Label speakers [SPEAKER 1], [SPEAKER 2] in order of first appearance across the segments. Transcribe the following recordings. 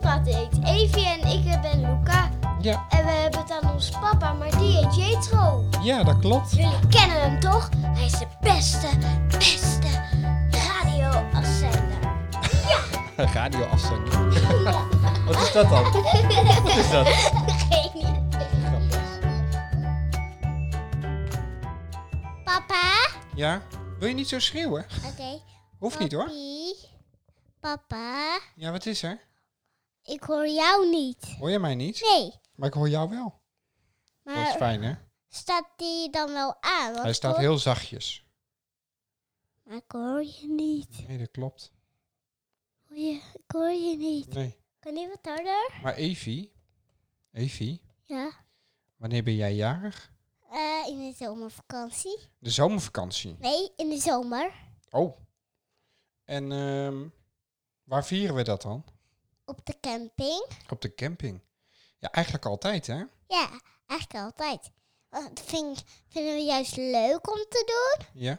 [SPEAKER 1] gaat eet. Evie en ik ben Luca.
[SPEAKER 2] Ja,
[SPEAKER 1] En we hebben het aan ons papa, maar die heet Jetro.
[SPEAKER 2] ja, dat klopt.
[SPEAKER 1] Jullie kennen hem toch? Hij is de beste, beste radioafzender.
[SPEAKER 2] Radio afzender. Wat is dat dan? Wat is dat?
[SPEAKER 1] Geen idee.
[SPEAKER 2] Grappig.
[SPEAKER 1] Papa?
[SPEAKER 2] Ja? Wil je niet zo schreeuwen?
[SPEAKER 1] Oké.
[SPEAKER 2] Hoeft niet hoor.
[SPEAKER 1] Papi, Papa,
[SPEAKER 2] Ja, wat is er?
[SPEAKER 1] ik hoor jou niet.
[SPEAKER 2] Hoor je mij niet?
[SPEAKER 1] Nee,
[SPEAKER 2] Maar ik hoor jou wel. Dat is
[SPEAKER 1] maar
[SPEAKER 2] fijn, hè?
[SPEAKER 1] staat die dan wel aan? Want
[SPEAKER 2] Hij
[SPEAKER 1] ik
[SPEAKER 2] staat
[SPEAKER 1] hoor-
[SPEAKER 2] heel zachtjes.
[SPEAKER 1] Maar ik hoor je niet.
[SPEAKER 2] Nee, dat klopt.
[SPEAKER 1] Hoor je- Ik hoor je niet.
[SPEAKER 2] Nee.
[SPEAKER 1] Kan je wat harder?
[SPEAKER 2] Maar Evie, Evie,
[SPEAKER 1] Ja.
[SPEAKER 2] wanneer ben jij jarig?
[SPEAKER 1] Eh, in de zomervakantie?
[SPEAKER 2] De zomervakantie.
[SPEAKER 1] Nee, in de zomer.
[SPEAKER 2] Oh. En ehm, waar vieren we dat dan?
[SPEAKER 1] Op de camping?
[SPEAKER 2] Op de camping. Ja, eigenlijk altijd, hè?
[SPEAKER 1] Ja, eigenlijk altijd. Want Dat vind, ik- vinden we juist leuk om te doen.
[SPEAKER 2] Ja.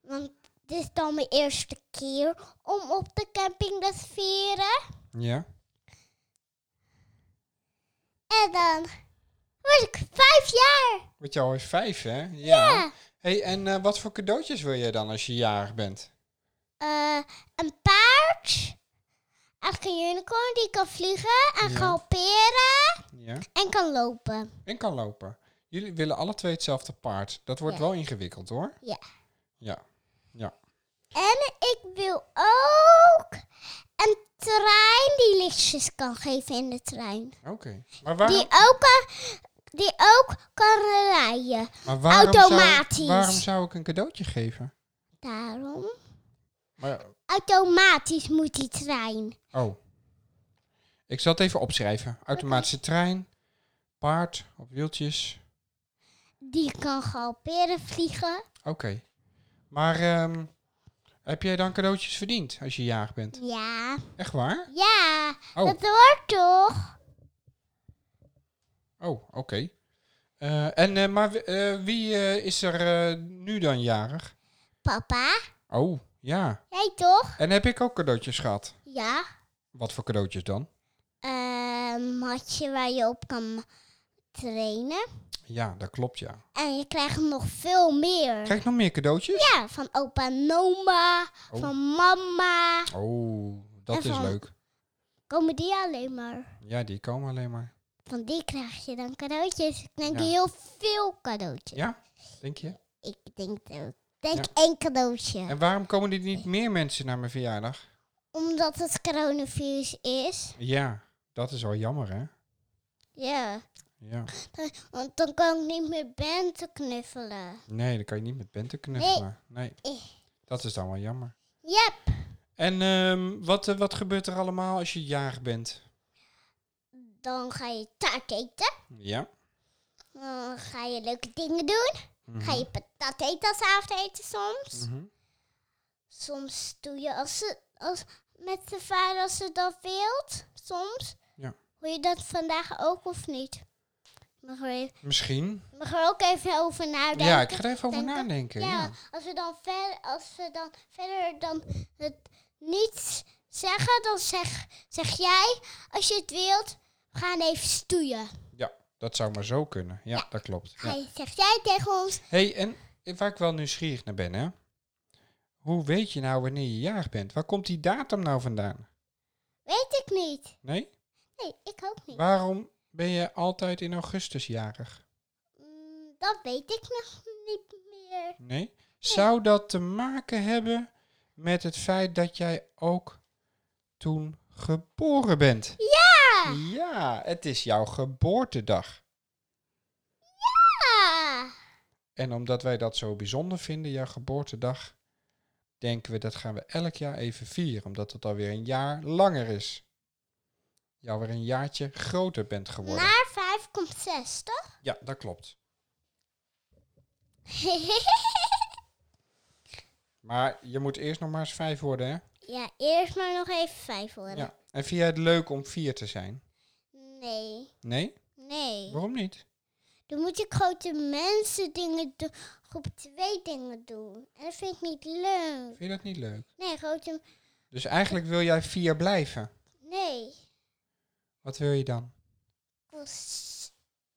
[SPEAKER 1] Want dit is dan mijn eerste keer om op de camping dat te vieren.
[SPEAKER 2] Ja.
[SPEAKER 1] En dan word ik vijf jaar.
[SPEAKER 2] Word je al eens vijf, hè? Ja.
[SPEAKER 1] Ja.
[SPEAKER 2] hey, en eh, wat voor cadeautjes wil jij dan als je jarig bent?
[SPEAKER 1] Eh, een paard. Eigenlijk een unicorn die kan vliegen en
[SPEAKER 2] Ja.
[SPEAKER 1] galopperen
[SPEAKER 2] Ja.
[SPEAKER 1] en kan lopen.
[SPEAKER 2] En kan lopen. Jullie willen alle twee hetzelfde paard. Dat wordt
[SPEAKER 1] Ja.
[SPEAKER 2] wel ingewikkeld, hoor.
[SPEAKER 1] Ja.
[SPEAKER 2] Ja. Ja.
[SPEAKER 1] En ik wil ook een trein die lichtjes kan geven in de trein.
[SPEAKER 2] Oké. Maar waarom,
[SPEAKER 1] Die, ook kan, die ook kan rijden.
[SPEAKER 2] maar waarom zou-
[SPEAKER 1] automatisch.
[SPEAKER 2] waarom zou ik een cadeautje geven?
[SPEAKER 1] Daarom.
[SPEAKER 2] Maar,
[SPEAKER 1] Automatisch moet die trein.
[SPEAKER 2] oh. Ik zal het even opschrijven. Automatische trein, paard op wieltjes.
[SPEAKER 1] Die kan galopperen, vliegen.
[SPEAKER 2] Oké. Maar ehm, heb jij dan cadeautjes verdiend als je jarig bent?
[SPEAKER 1] Ja,
[SPEAKER 2] Echt waar?
[SPEAKER 1] ja.
[SPEAKER 2] Oh.
[SPEAKER 1] Dat hoort toch?
[SPEAKER 2] Oh, oké. Eh, en, eh, maar wi- eh, wie eh, is er eh, nu dan jarig?
[SPEAKER 1] Papa,
[SPEAKER 2] Oh, ja.
[SPEAKER 1] jij toch?
[SPEAKER 2] En heb ik ook cadeautjes gehad?
[SPEAKER 1] Ja.
[SPEAKER 2] Wat voor cadeautjes dan?
[SPEAKER 1] een matje waar je op kan trainen.
[SPEAKER 2] Ja, dat klopt, ja.
[SPEAKER 1] En je krijgt nog veel meer.
[SPEAKER 2] Krijg ik nog meer cadeautjes?
[SPEAKER 1] Ja, van opa en oma,
[SPEAKER 2] Oh.
[SPEAKER 1] van mama.
[SPEAKER 2] Oh, dat
[SPEAKER 1] En
[SPEAKER 2] is
[SPEAKER 1] van-
[SPEAKER 2] leuk.
[SPEAKER 1] Komen die alleen maar.
[SPEAKER 2] Ja, die komen alleen maar.
[SPEAKER 1] Van die krijg je dan cadeautjes. Ik denk
[SPEAKER 2] Ja.
[SPEAKER 1] heel veel cadeautjes.
[SPEAKER 2] Ja, denk je?
[SPEAKER 1] Ik denk, dat- denk één cadeautje.
[SPEAKER 2] En waarom komen er niet meer mensen naar mijn verjaardag?
[SPEAKER 1] Omdat het coronavirus is.
[SPEAKER 2] Ja, dat is wel jammer, hè?
[SPEAKER 1] Ja.
[SPEAKER 2] Ja.
[SPEAKER 1] Want dan kan ik niet meer Bente knuffelen.
[SPEAKER 2] Nee, dan kan je niet met Bente knuffelen. Nee.
[SPEAKER 1] Eh.
[SPEAKER 2] Dat is dan wel jammer.
[SPEAKER 1] Yep.
[SPEAKER 2] En ehm, wat, eh, wat gebeurt er allemaal als je jarig bent?
[SPEAKER 1] Dan ga je taart eten.
[SPEAKER 2] Ja.
[SPEAKER 1] Dan ga je leuke dingen doen. Ga je patat eten als avondeten soms.
[SPEAKER 2] Mhm.
[SPEAKER 1] Soms doe je als ze, als, met de vader als ze dat wilt. Soms.
[SPEAKER 2] Ja.
[SPEAKER 1] Hoe je dat vandaag ook of niet? Mag er, even-
[SPEAKER 2] Misschien.
[SPEAKER 1] mag er ook even over nadenken.
[SPEAKER 2] ja, ik ga er even over
[SPEAKER 1] denken.
[SPEAKER 2] nadenken. Ja.
[SPEAKER 1] Ja, als we dan, ver, als we dan verder dan het niet zeggen, dan zeg, zeg jij, als je het wilt, we gaan even stoeien.
[SPEAKER 2] Ja, dat zou maar zo kunnen. Ja, dat klopt.
[SPEAKER 1] Ga
[SPEAKER 2] Ja.
[SPEAKER 1] je Zeg jij tegen ons,
[SPEAKER 2] hey, en waar ik wel nieuwsgierig naar ben, hè? Hoe weet je nou wanneer je jarig bent? Waar komt die datum nou vandaan?
[SPEAKER 1] weet ik niet.
[SPEAKER 2] Nee?
[SPEAKER 1] Nee, ik ook niet.
[SPEAKER 2] Waarom ben je altijd in augustus jarig?
[SPEAKER 1] Mm, dat weet ik nog niet meer.
[SPEAKER 2] Nee? Zou dat te maken hebben met het feit dat jij ook toen geboren bent?
[SPEAKER 1] Ja!
[SPEAKER 2] Ja, het is jouw geboortedag.
[SPEAKER 1] Ah,
[SPEAKER 2] En omdat wij dat zo bijzonder vinden, jouw geboortedag, denken we dat gaan we elk jaar even vieren, omdat het alweer een jaar langer is. Jou weer een jaartje groter bent geworden.
[SPEAKER 1] naar vijf komt zes, toch?
[SPEAKER 2] Ja, dat klopt. Maar je moet eerst nog maar eens vijf worden, hè?
[SPEAKER 1] ja, eerst maar nog even vijf horen.
[SPEAKER 2] Ja. En vind jij het leuk om vier te zijn?
[SPEAKER 1] Nee,
[SPEAKER 2] Nee?
[SPEAKER 1] nee.
[SPEAKER 2] Waarom niet?
[SPEAKER 1] Dan moet ik grote mensen dingen doen, groep twee dingen doen. En dat vind ik niet leuk.
[SPEAKER 2] Vind je dat niet leuk?
[SPEAKER 1] Nee, grote...
[SPEAKER 2] Dus eigenlijk wil jij vier blijven.
[SPEAKER 1] Nee.
[SPEAKER 2] Wat wil je dan?
[SPEAKER 1] Ik wil s-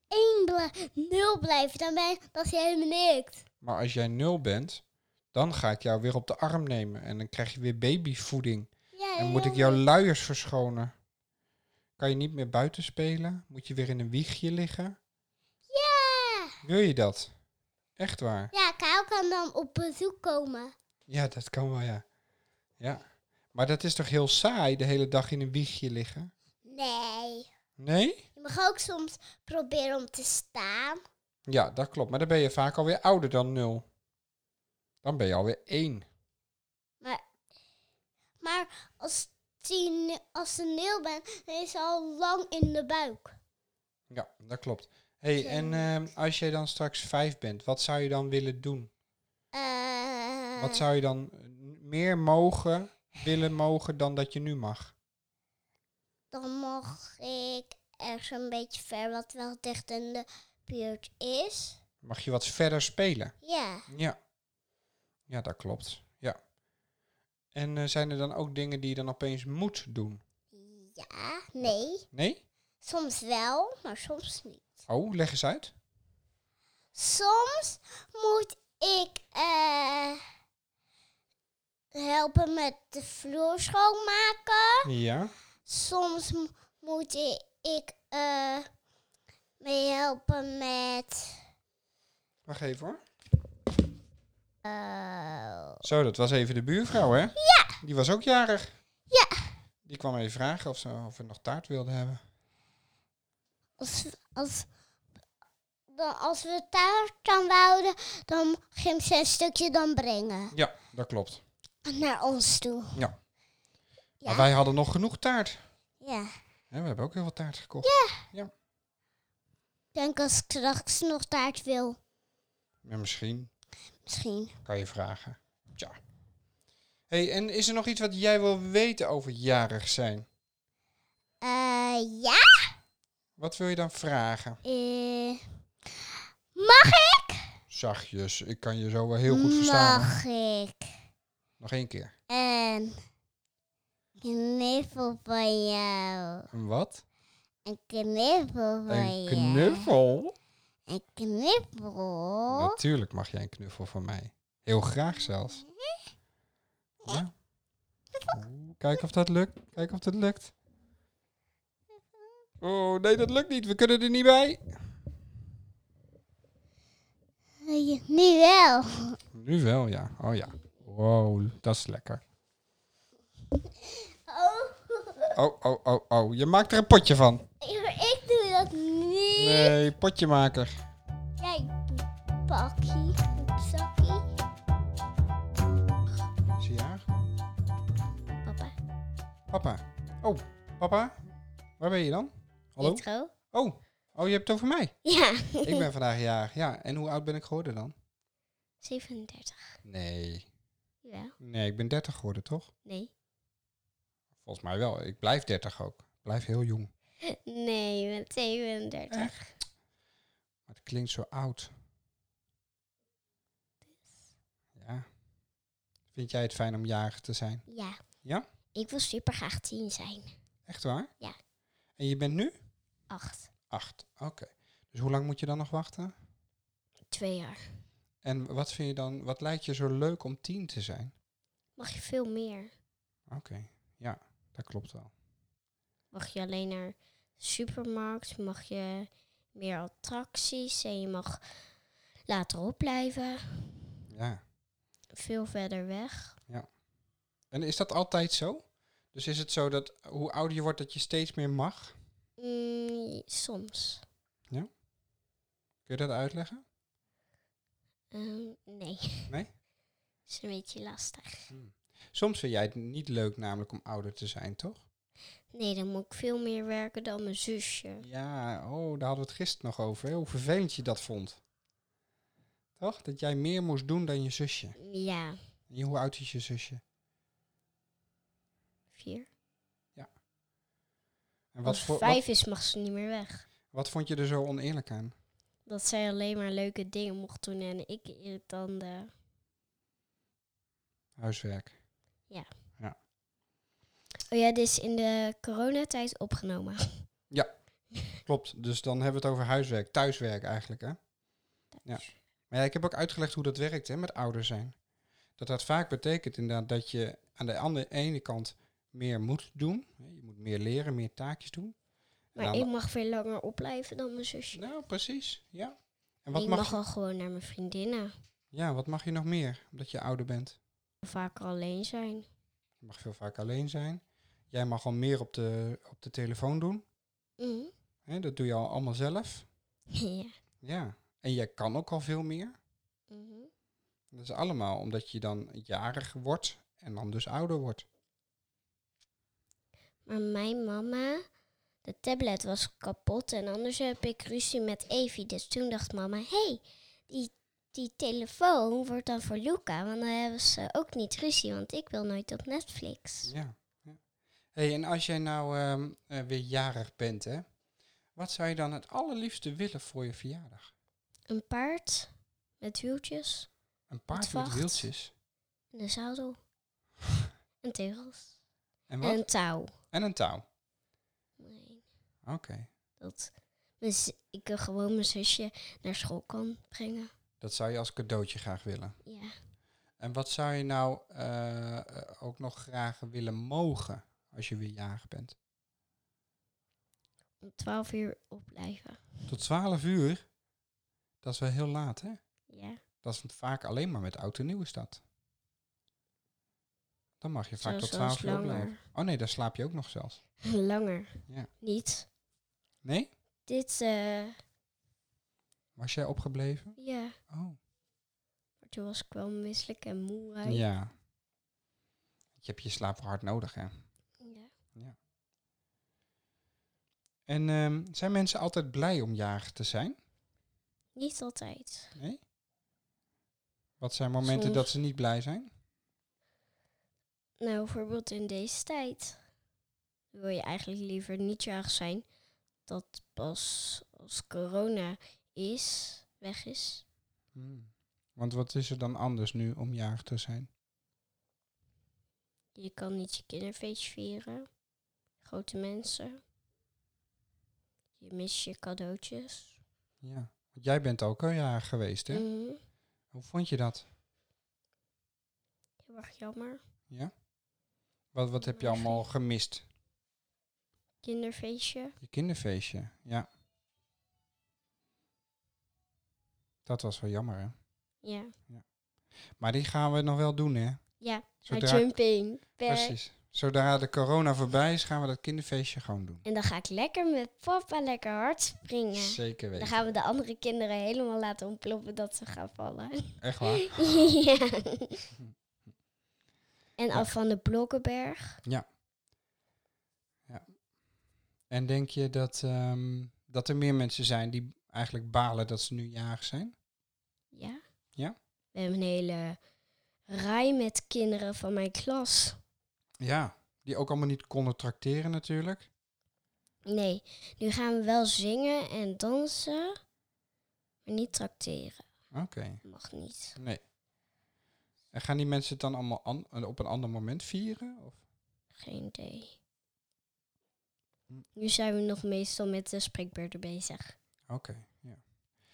[SPEAKER 1] één bla- nul blijven. Dan, ben, dan is hij helemaal niks.
[SPEAKER 2] Maar als jij nul bent, dan ga ik jou weer op de arm nemen. En dan krijg je weer babyvoeding.
[SPEAKER 1] Ja,
[SPEAKER 2] En moet ik jouw luiers verschonen. Kan je niet meer buiten spelen? Moet je weer in een wiegje liggen?
[SPEAKER 1] Ja!
[SPEAKER 2] Wil je dat? Echt waar?
[SPEAKER 1] Ja, Kyle kan dan op bezoek komen.
[SPEAKER 2] Ja, dat kan wel, ja. Ja. Maar dat is toch heel saai, de hele dag in een wiegje liggen?
[SPEAKER 1] Nee.
[SPEAKER 2] Nee?
[SPEAKER 1] Je mag ook soms proberen om te staan.
[SPEAKER 2] Ja, dat klopt. Maar dan ben je vaak alweer ouder dan nul. Dan ben je alweer één.
[SPEAKER 1] Maar als, die, ne- als ze nul bent, dan is ze al lang in de buik.
[SPEAKER 2] Ja, dat klopt. hey,
[SPEAKER 1] Zo.
[SPEAKER 2] en ehm, als jij dan straks vijf bent, wat zou je dan willen doen?
[SPEAKER 1] Eh,
[SPEAKER 2] Wat zou je dan eh, meer mogen, willen mogen dan dat je nu mag?
[SPEAKER 1] Dan mag ik ergens een beetje ver, wat wel dicht in de buurt is.
[SPEAKER 2] Mag je wat verder spelen?
[SPEAKER 1] Ja.
[SPEAKER 2] Ja. Ja, dat klopt. Ja. En eh, zijn er dan ook dingen die je dan opeens moet doen?
[SPEAKER 1] Ja, nee.
[SPEAKER 2] Nee?
[SPEAKER 1] Soms wel, maar soms niet.
[SPEAKER 2] Oh, leg eens uit.
[SPEAKER 1] Soms moet ik eh, helpen met de vloer schoonmaken.
[SPEAKER 2] Ja.
[SPEAKER 1] Soms m- moet i- ik eh, mee helpen met.
[SPEAKER 2] Wacht even hoor.
[SPEAKER 1] eh,
[SPEAKER 2] Zo, dat was even de buurvrouw, hè?
[SPEAKER 1] Ja.
[SPEAKER 2] Die was ook jarig.
[SPEAKER 1] Ja.
[SPEAKER 2] Die kwam even vragen of, ze, of we nog taart wilden hebben.
[SPEAKER 1] als, als, dan, als we taart dan wouden, dan ging ze een stukje dan brengen
[SPEAKER 2] Ja, dat klopt.
[SPEAKER 1] naar ons toe.
[SPEAKER 2] Ja. Maar
[SPEAKER 1] Ja.
[SPEAKER 2] wij hadden nog genoeg taart.
[SPEAKER 1] ja.
[SPEAKER 2] Hè, we hebben ook heel veel taart gekocht. Ja.
[SPEAKER 1] Ik denk als ik straks nog taart wil,
[SPEAKER 2] misschien
[SPEAKER 1] misschien.
[SPEAKER 2] kan je vragen. Tja. hey, en is er nog iets wat jij wil weten over jarig zijn?
[SPEAKER 1] Eh, ja.
[SPEAKER 2] Wat wil je dan vragen?
[SPEAKER 1] Eh, mag ik?
[SPEAKER 2] Zachtjes, ik kan je zo wel heel
[SPEAKER 1] Nou.
[SPEAKER 2] goed verstaan. hoor.
[SPEAKER 1] Mag ik
[SPEAKER 2] Nog één keer.
[SPEAKER 1] een knuffel van jou?
[SPEAKER 2] Een wat?
[SPEAKER 1] Een knuffel van
[SPEAKER 2] Een
[SPEAKER 1] jou?
[SPEAKER 2] knuffel?
[SPEAKER 1] Een knuffel?
[SPEAKER 2] Natuurlijk mag jij een knuffel van mij. Heel graag zelfs. Ja. Oeh, Kijk of dat lukt. Kijk of dat lukt. Oh, nee, dat lukt niet. We kunnen er niet bij.
[SPEAKER 1] Eh, Nu wel.
[SPEAKER 2] Nu wel, ja. Oh ja. Wow, dat is lekker.
[SPEAKER 1] Oh,
[SPEAKER 2] Oh, oh, oh, oh. Je maakt er een potje van.
[SPEAKER 1] ik doe dat niet.
[SPEAKER 2] Nee, potjemaker.
[SPEAKER 1] Kijk, pakkie, zakkie.
[SPEAKER 2] Zie je haar?
[SPEAKER 1] Papa,
[SPEAKER 2] Papa. Oh, papa. Waar ben je dan? Hallo?
[SPEAKER 1] Pietro?
[SPEAKER 2] Oh, oh je hebt het over mij.
[SPEAKER 1] Ja.
[SPEAKER 2] Ik ben vandaag jarig. Ja, en hoe oud ben ik geworden dan?
[SPEAKER 1] 37.
[SPEAKER 2] Nee.
[SPEAKER 1] Wel?
[SPEAKER 2] Nee, ik ben 30 geworden, toch?
[SPEAKER 1] Nee.
[SPEAKER 2] Volgens mij wel. Ik blijf 30 ook. Ik blijf heel jong.
[SPEAKER 1] Nee, je bent 37.
[SPEAKER 2] Maar het klinkt zo oud. Ja. Vind jij het fijn om jarig te zijn?
[SPEAKER 1] Ja.
[SPEAKER 2] Ja?
[SPEAKER 1] Ik wil super graag tien zijn.
[SPEAKER 2] Echt waar?
[SPEAKER 1] Ja.
[SPEAKER 2] En je bent nu?
[SPEAKER 1] Acht.
[SPEAKER 2] Acht. Oké. Dus hoe lang moet je dan nog wachten?
[SPEAKER 1] Twee jaar.
[SPEAKER 2] En wat vind je dan, wat lijkt je zo leuk om tien te zijn?
[SPEAKER 1] Mag je veel meer?
[SPEAKER 2] Oké. Ja, dat klopt wel.
[SPEAKER 3] mag je alleen naar de supermarkt, mag je meer attracties en je mag later opblijven,
[SPEAKER 2] Ja.
[SPEAKER 3] veel verder weg.
[SPEAKER 2] En is dat altijd zo? Dus is het zo dat hoe ouder je wordt dat je steeds meer mag?
[SPEAKER 3] Mm, soms.
[SPEAKER 2] Kun je dat uitleggen?
[SPEAKER 3] Ehm, nee.
[SPEAKER 2] Nee?
[SPEAKER 3] is een beetje lastig.
[SPEAKER 2] Soms vind jij het niet leuk namelijk om ouder te zijn, toch?
[SPEAKER 3] Nee, dan moet ik veel meer werken dan mijn zusje.
[SPEAKER 2] Ja, oh, daar hadden we het gisteren nog over. hè, Hoe vervelend je dat vond. Toch? Dat jij meer moest doen dan je zusje.
[SPEAKER 3] Ja,
[SPEAKER 2] En hoe oud is je zusje?
[SPEAKER 3] vier.
[SPEAKER 2] En wat,
[SPEAKER 1] Oh,
[SPEAKER 3] Als
[SPEAKER 2] voor, wat,
[SPEAKER 3] vijf is, mag ze niet meer weg.
[SPEAKER 2] wat vond je er zo oneerlijk aan?
[SPEAKER 3] Dat zij alleen maar leuke dingen mocht doen en ik dan de...
[SPEAKER 2] Huiswerk.
[SPEAKER 3] Oh ja, dit is in de coronatijd opgenomen.
[SPEAKER 2] Klopt. Dus dan hebben we het over huiswerk, thuiswerk eigenlijk. Hè? Ja.
[SPEAKER 1] Thuis.
[SPEAKER 2] Maar ja, ik heb ook uitgelegd hoe dat werkt hè, met ouder zijn. Dat dat vaak betekent inderdaad dat je aan de andere, ene kant meer moet doen. Hè, je moet meer leren, meer taakjes doen. En aan
[SPEAKER 1] Maar
[SPEAKER 2] de-
[SPEAKER 1] ik mag veel langer opblijven dan mijn zusje.
[SPEAKER 2] Nou, precies. Ja. En
[SPEAKER 1] En
[SPEAKER 2] wat
[SPEAKER 1] ik
[SPEAKER 2] mag,
[SPEAKER 1] mag al gewoon naar mijn vriendinnen.
[SPEAKER 2] ja, wat mag je nog meer? Omdat je ouder bent.
[SPEAKER 1] Vaker alleen zijn.
[SPEAKER 2] Je mag veel vaak alleen zijn. Jij mag al meer op de, op de telefoon doen.
[SPEAKER 1] Mhm.
[SPEAKER 2] Hè, dat doe je al allemaal zelf.
[SPEAKER 1] ja.
[SPEAKER 2] Ja. En jij kan ook al veel meer.
[SPEAKER 1] Mhm.
[SPEAKER 2] Dat is allemaal omdat je dan jarig wordt en dan dus ouder wordt.
[SPEAKER 1] Maar mijn mama, de tablet was kapot en anders heb ik ruzie met Evie. Dus toen dacht mama, hé, hey, die, die telefoon wordt dan voor Luca. Want dan hebben ze ook niet ruzie, want ik wil nooit op Netflix.
[SPEAKER 2] Ja. ja. hey, en als jij nou ehm, eh, weer jarig bent, hè, wat zou je dan het allerliefste willen voor je verjaardag?
[SPEAKER 1] Een paard met wieltjes
[SPEAKER 2] Een paard met
[SPEAKER 1] vacht.
[SPEAKER 2] wieltjes.
[SPEAKER 1] en een zadel. en tegels.
[SPEAKER 2] En wat?
[SPEAKER 1] En
[SPEAKER 2] En,
[SPEAKER 1] een touw.
[SPEAKER 2] een touw.
[SPEAKER 1] Nee,
[SPEAKER 2] Oké.
[SPEAKER 1] dat mijn z- ik eh, gewoon mijn zusje naar school kan brengen.
[SPEAKER 2] Dat zou je als cadeautje graag willen.
[SPEAKER 1] Ja,
[SPEAKER 2] En wat zou je nou eh, eh, ook nog graag willen mogen als je weer jarig bent?
[SPEAKER 1] om twaalf uur opblijven.
[SPEAKER 2] Tot 12 uur? Dat is wel heel laat, hè?
[SPEAKER 1] Ja,
[SPEAKER 2] Dat is vaak alleen maar met oud en nieuw is dat. Dan mag je vaak
[SPEAKER 1] zelfs
[SPEAKER 2] tot
[SPEAKER 1] wel eens
[SPEAKER 2] 12 uur blijven. Oh nee, daar slaap je ook nog zelfs.
[SPEAKER 1] Eh, Langer.
[SPEAKER 2] Ja.
[SPEAKER 1] Niet.
[SPEAKER 2] Nee?
[SPEAKER 1] Dit, eh,
[SPEAKER 2] Was jij opgebleven?
[SPEAKER 1] ja.
[SPEAKER 2] Oh.
[SPEAKER 1] Maar toen was ik wel misselijk en moe. uit.
[SPEAKER 2] Ja. Je hebt je slaap wel hard nodig, hè?
[SPEAKER 1] Ja.
[SPEAKER 2] En ehm, zijn mensen altijd blij om jarig te zijn?
[SPEAKER 1] Niet altijd.
[SPEAKER 2] Nee? Wat zijn momenten
[SPEAKER 1] Soms.
[SPEAKER 2] dat ze niet blij zijn?
[SPEAKER 1] Nou, bijvoorbeeld in deze tijd wil je eigenlijk liever niet jarig zijn. Dat pas als corona is, weg is.
[SPEAKER 2] Hmm. Want wat is er dan anders nu om jarig te zijn?
[SPEAKER 1] Je kan niet je kinderfeest vieren. Grote mensen. Je mist je cadeautjes.
[SPEAKER 2] Ja. Want jij bent ook al jarig geweest, hè?
[SPEAKER 1] Mhm.
[SPEAKER 2] Hoe vond je dat?
[SPEAKER 1] Heel erg jammer.
[SPEAKER 2] Ja? Wat, wat heb je
[SPEAKER 1] Mijn
[SPEAKER 2] allemaal gemist?
[SPEAKER 1] Kinderfeestje.
[SPEAKER 2] Je kinderfeestje, ja. Dat was wel jammer, hè?
[SPEAKER 1] Ja.
[SPEAKER 2] Maar die gaan we nog wel doen, hè?
[SPEAKER 1] Ja.
[SPEAKER 2] Zodra-
[SPEAKER 1] Maar jumping. per-
[SPEAKER 2] Precies. Zodra de corona voorbij is, gaan we dat kinderfeestje gewoon doen.
[SPEAKER 1] En dan ga ik lekker met papa lekker hard springen.
[SPEAKER 2] Zeker
[SPEAKER 1] Dan
[SPEAKER 2] weten.
[SPEAKER 1] gaan we de andere kinderen helemaal laten ontploppen dat ze gaan vallen.
[SPEAKER 2] Echt waar?
[SPEAKER 1] ja. En
[SPEAKER 2] Ja.
[SPEAKER 1] af van de Blokkenberg.
[SPEAKER 2] En denk je dat, ehm, dat er meer mensen zijn die eigenlijk balen dat ze nu jarig zijn?
[SPEAKER 1] Ja.
[SPEAKER 2] Ja?
[SPEAKER 1] We hebben een hele rij met kinderen van mijn klas.
[SPEAKER 2] Ja. Die ook allemaal niet konden tracteren natuurlijk.
[SPEAKER 1] Nee, nu gaan we wel zingen en dansen. Maar niet tracteren.
[SPEAKER 2] Oké.
[SPEAKER 1] Mag niet.
[SPEAKER 2] Nee. En gaan die mensen het dan allemaal an- op een ander moment vieren? Of?
[SPEAKER 1] Geen idee.
[SPEAKER 2] Hm.
[SPEAKER 1] Nu zijn we nog meestal met de spreekbeurten bezig.
[SPEAKER 2] Oké, ja.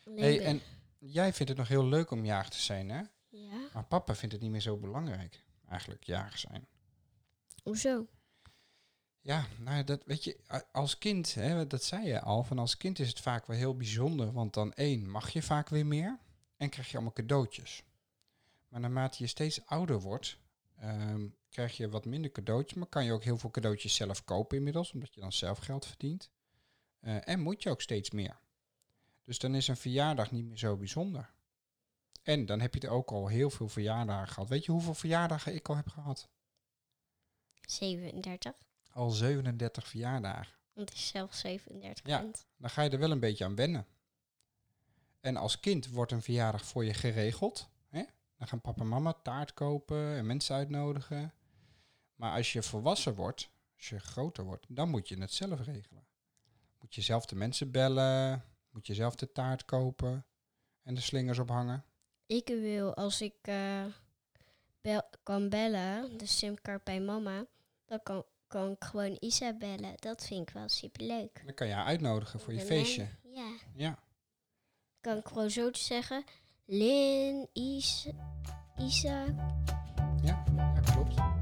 [SPEAKER 1] Alleen
[SPEAKER 2] Hey,
[SPEAKER 1] ben-
[SPEAKER 2] en jij vindt het nog heel leuk om jarig te zijn, hè?
[SPEAKER 1] Ja,
[SPEAKER 2] Maar papa vindt het niet meer zo belangrijk, eigenlijk, jarig zijn.
[SPEAKER 1] hoezo?
[SPEAKER 2] Ja, nou ja, dat weet je, a- als kind, hè, dat zei je al, van als kind is het vaak wel heel bijzonder, want dan één, mag je vaak weer meer en krijg je allemaal cadeautjes. Maar naarmate je steeds ouder wordt, ehm, krijg je wat minder cadeautjes, maar kan je ook heel veel cadeautjes zelf kopen inmiddels, omdat je dan zelf geld verdient. Eh, en moet je ook steeds meer. Dus dan is een verjaardag niet meer zo bijzonder. En dan heb je er ook al heel veel verjaardagen gehad. Weet je hoeveel verjaardagen ik al heb gehad?
[SPEAKER 1] 37.
[SPEAKER 2] Al 37 verjaardagen.
[SPEAKER 1] Want ik zelf 37
[SPEAKER 2] Ja.
[SPEAKER 1] bent.
[SPEAKER 2] dan ga je er wel een beetje aan wennen. En als kind wordt een verjaardag voor je geregeld. Hè? Dan gaan papa en mama taart kopen en mensen uitnodigen. Maar als je volwassen wordt, als je groter wordt, dan moet je het zelf regelen. Moet je zelf de mensen bellen, moet je zelf de taart kopen en de slingers ophangen.
[SPEAKER 1] Ik wil, als ik eh, bel- kan bellen, de simkaart bij mama, dan kan, kan ik gewoon Isa bellen. Dat vind ik wel superleuk.
[SPEAKER 2] Dan kan je haar uitnodigen voor je
[SPEAKER 1] En dan-
[SPEAKER 2] feestje.
[SPEAKER 1] Ja.
[SPEAKER 2] Ja.
[SPEAKER 1] Kan ik gewoon zo zeggen. Lin, Isa, Isa
[SPEAKER 2] ja, klopt.